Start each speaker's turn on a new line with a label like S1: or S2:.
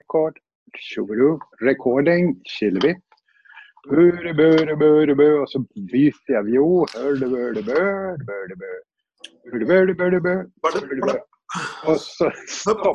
S1: Flipkart, tjoho, recording, killebit. Urebö, urebö, urebö och så byter jag vio. Hörlebö, hörlebö, hörlebö, hörlebö. Hörlebö, hörlebö, hörlebö. Och så stopp.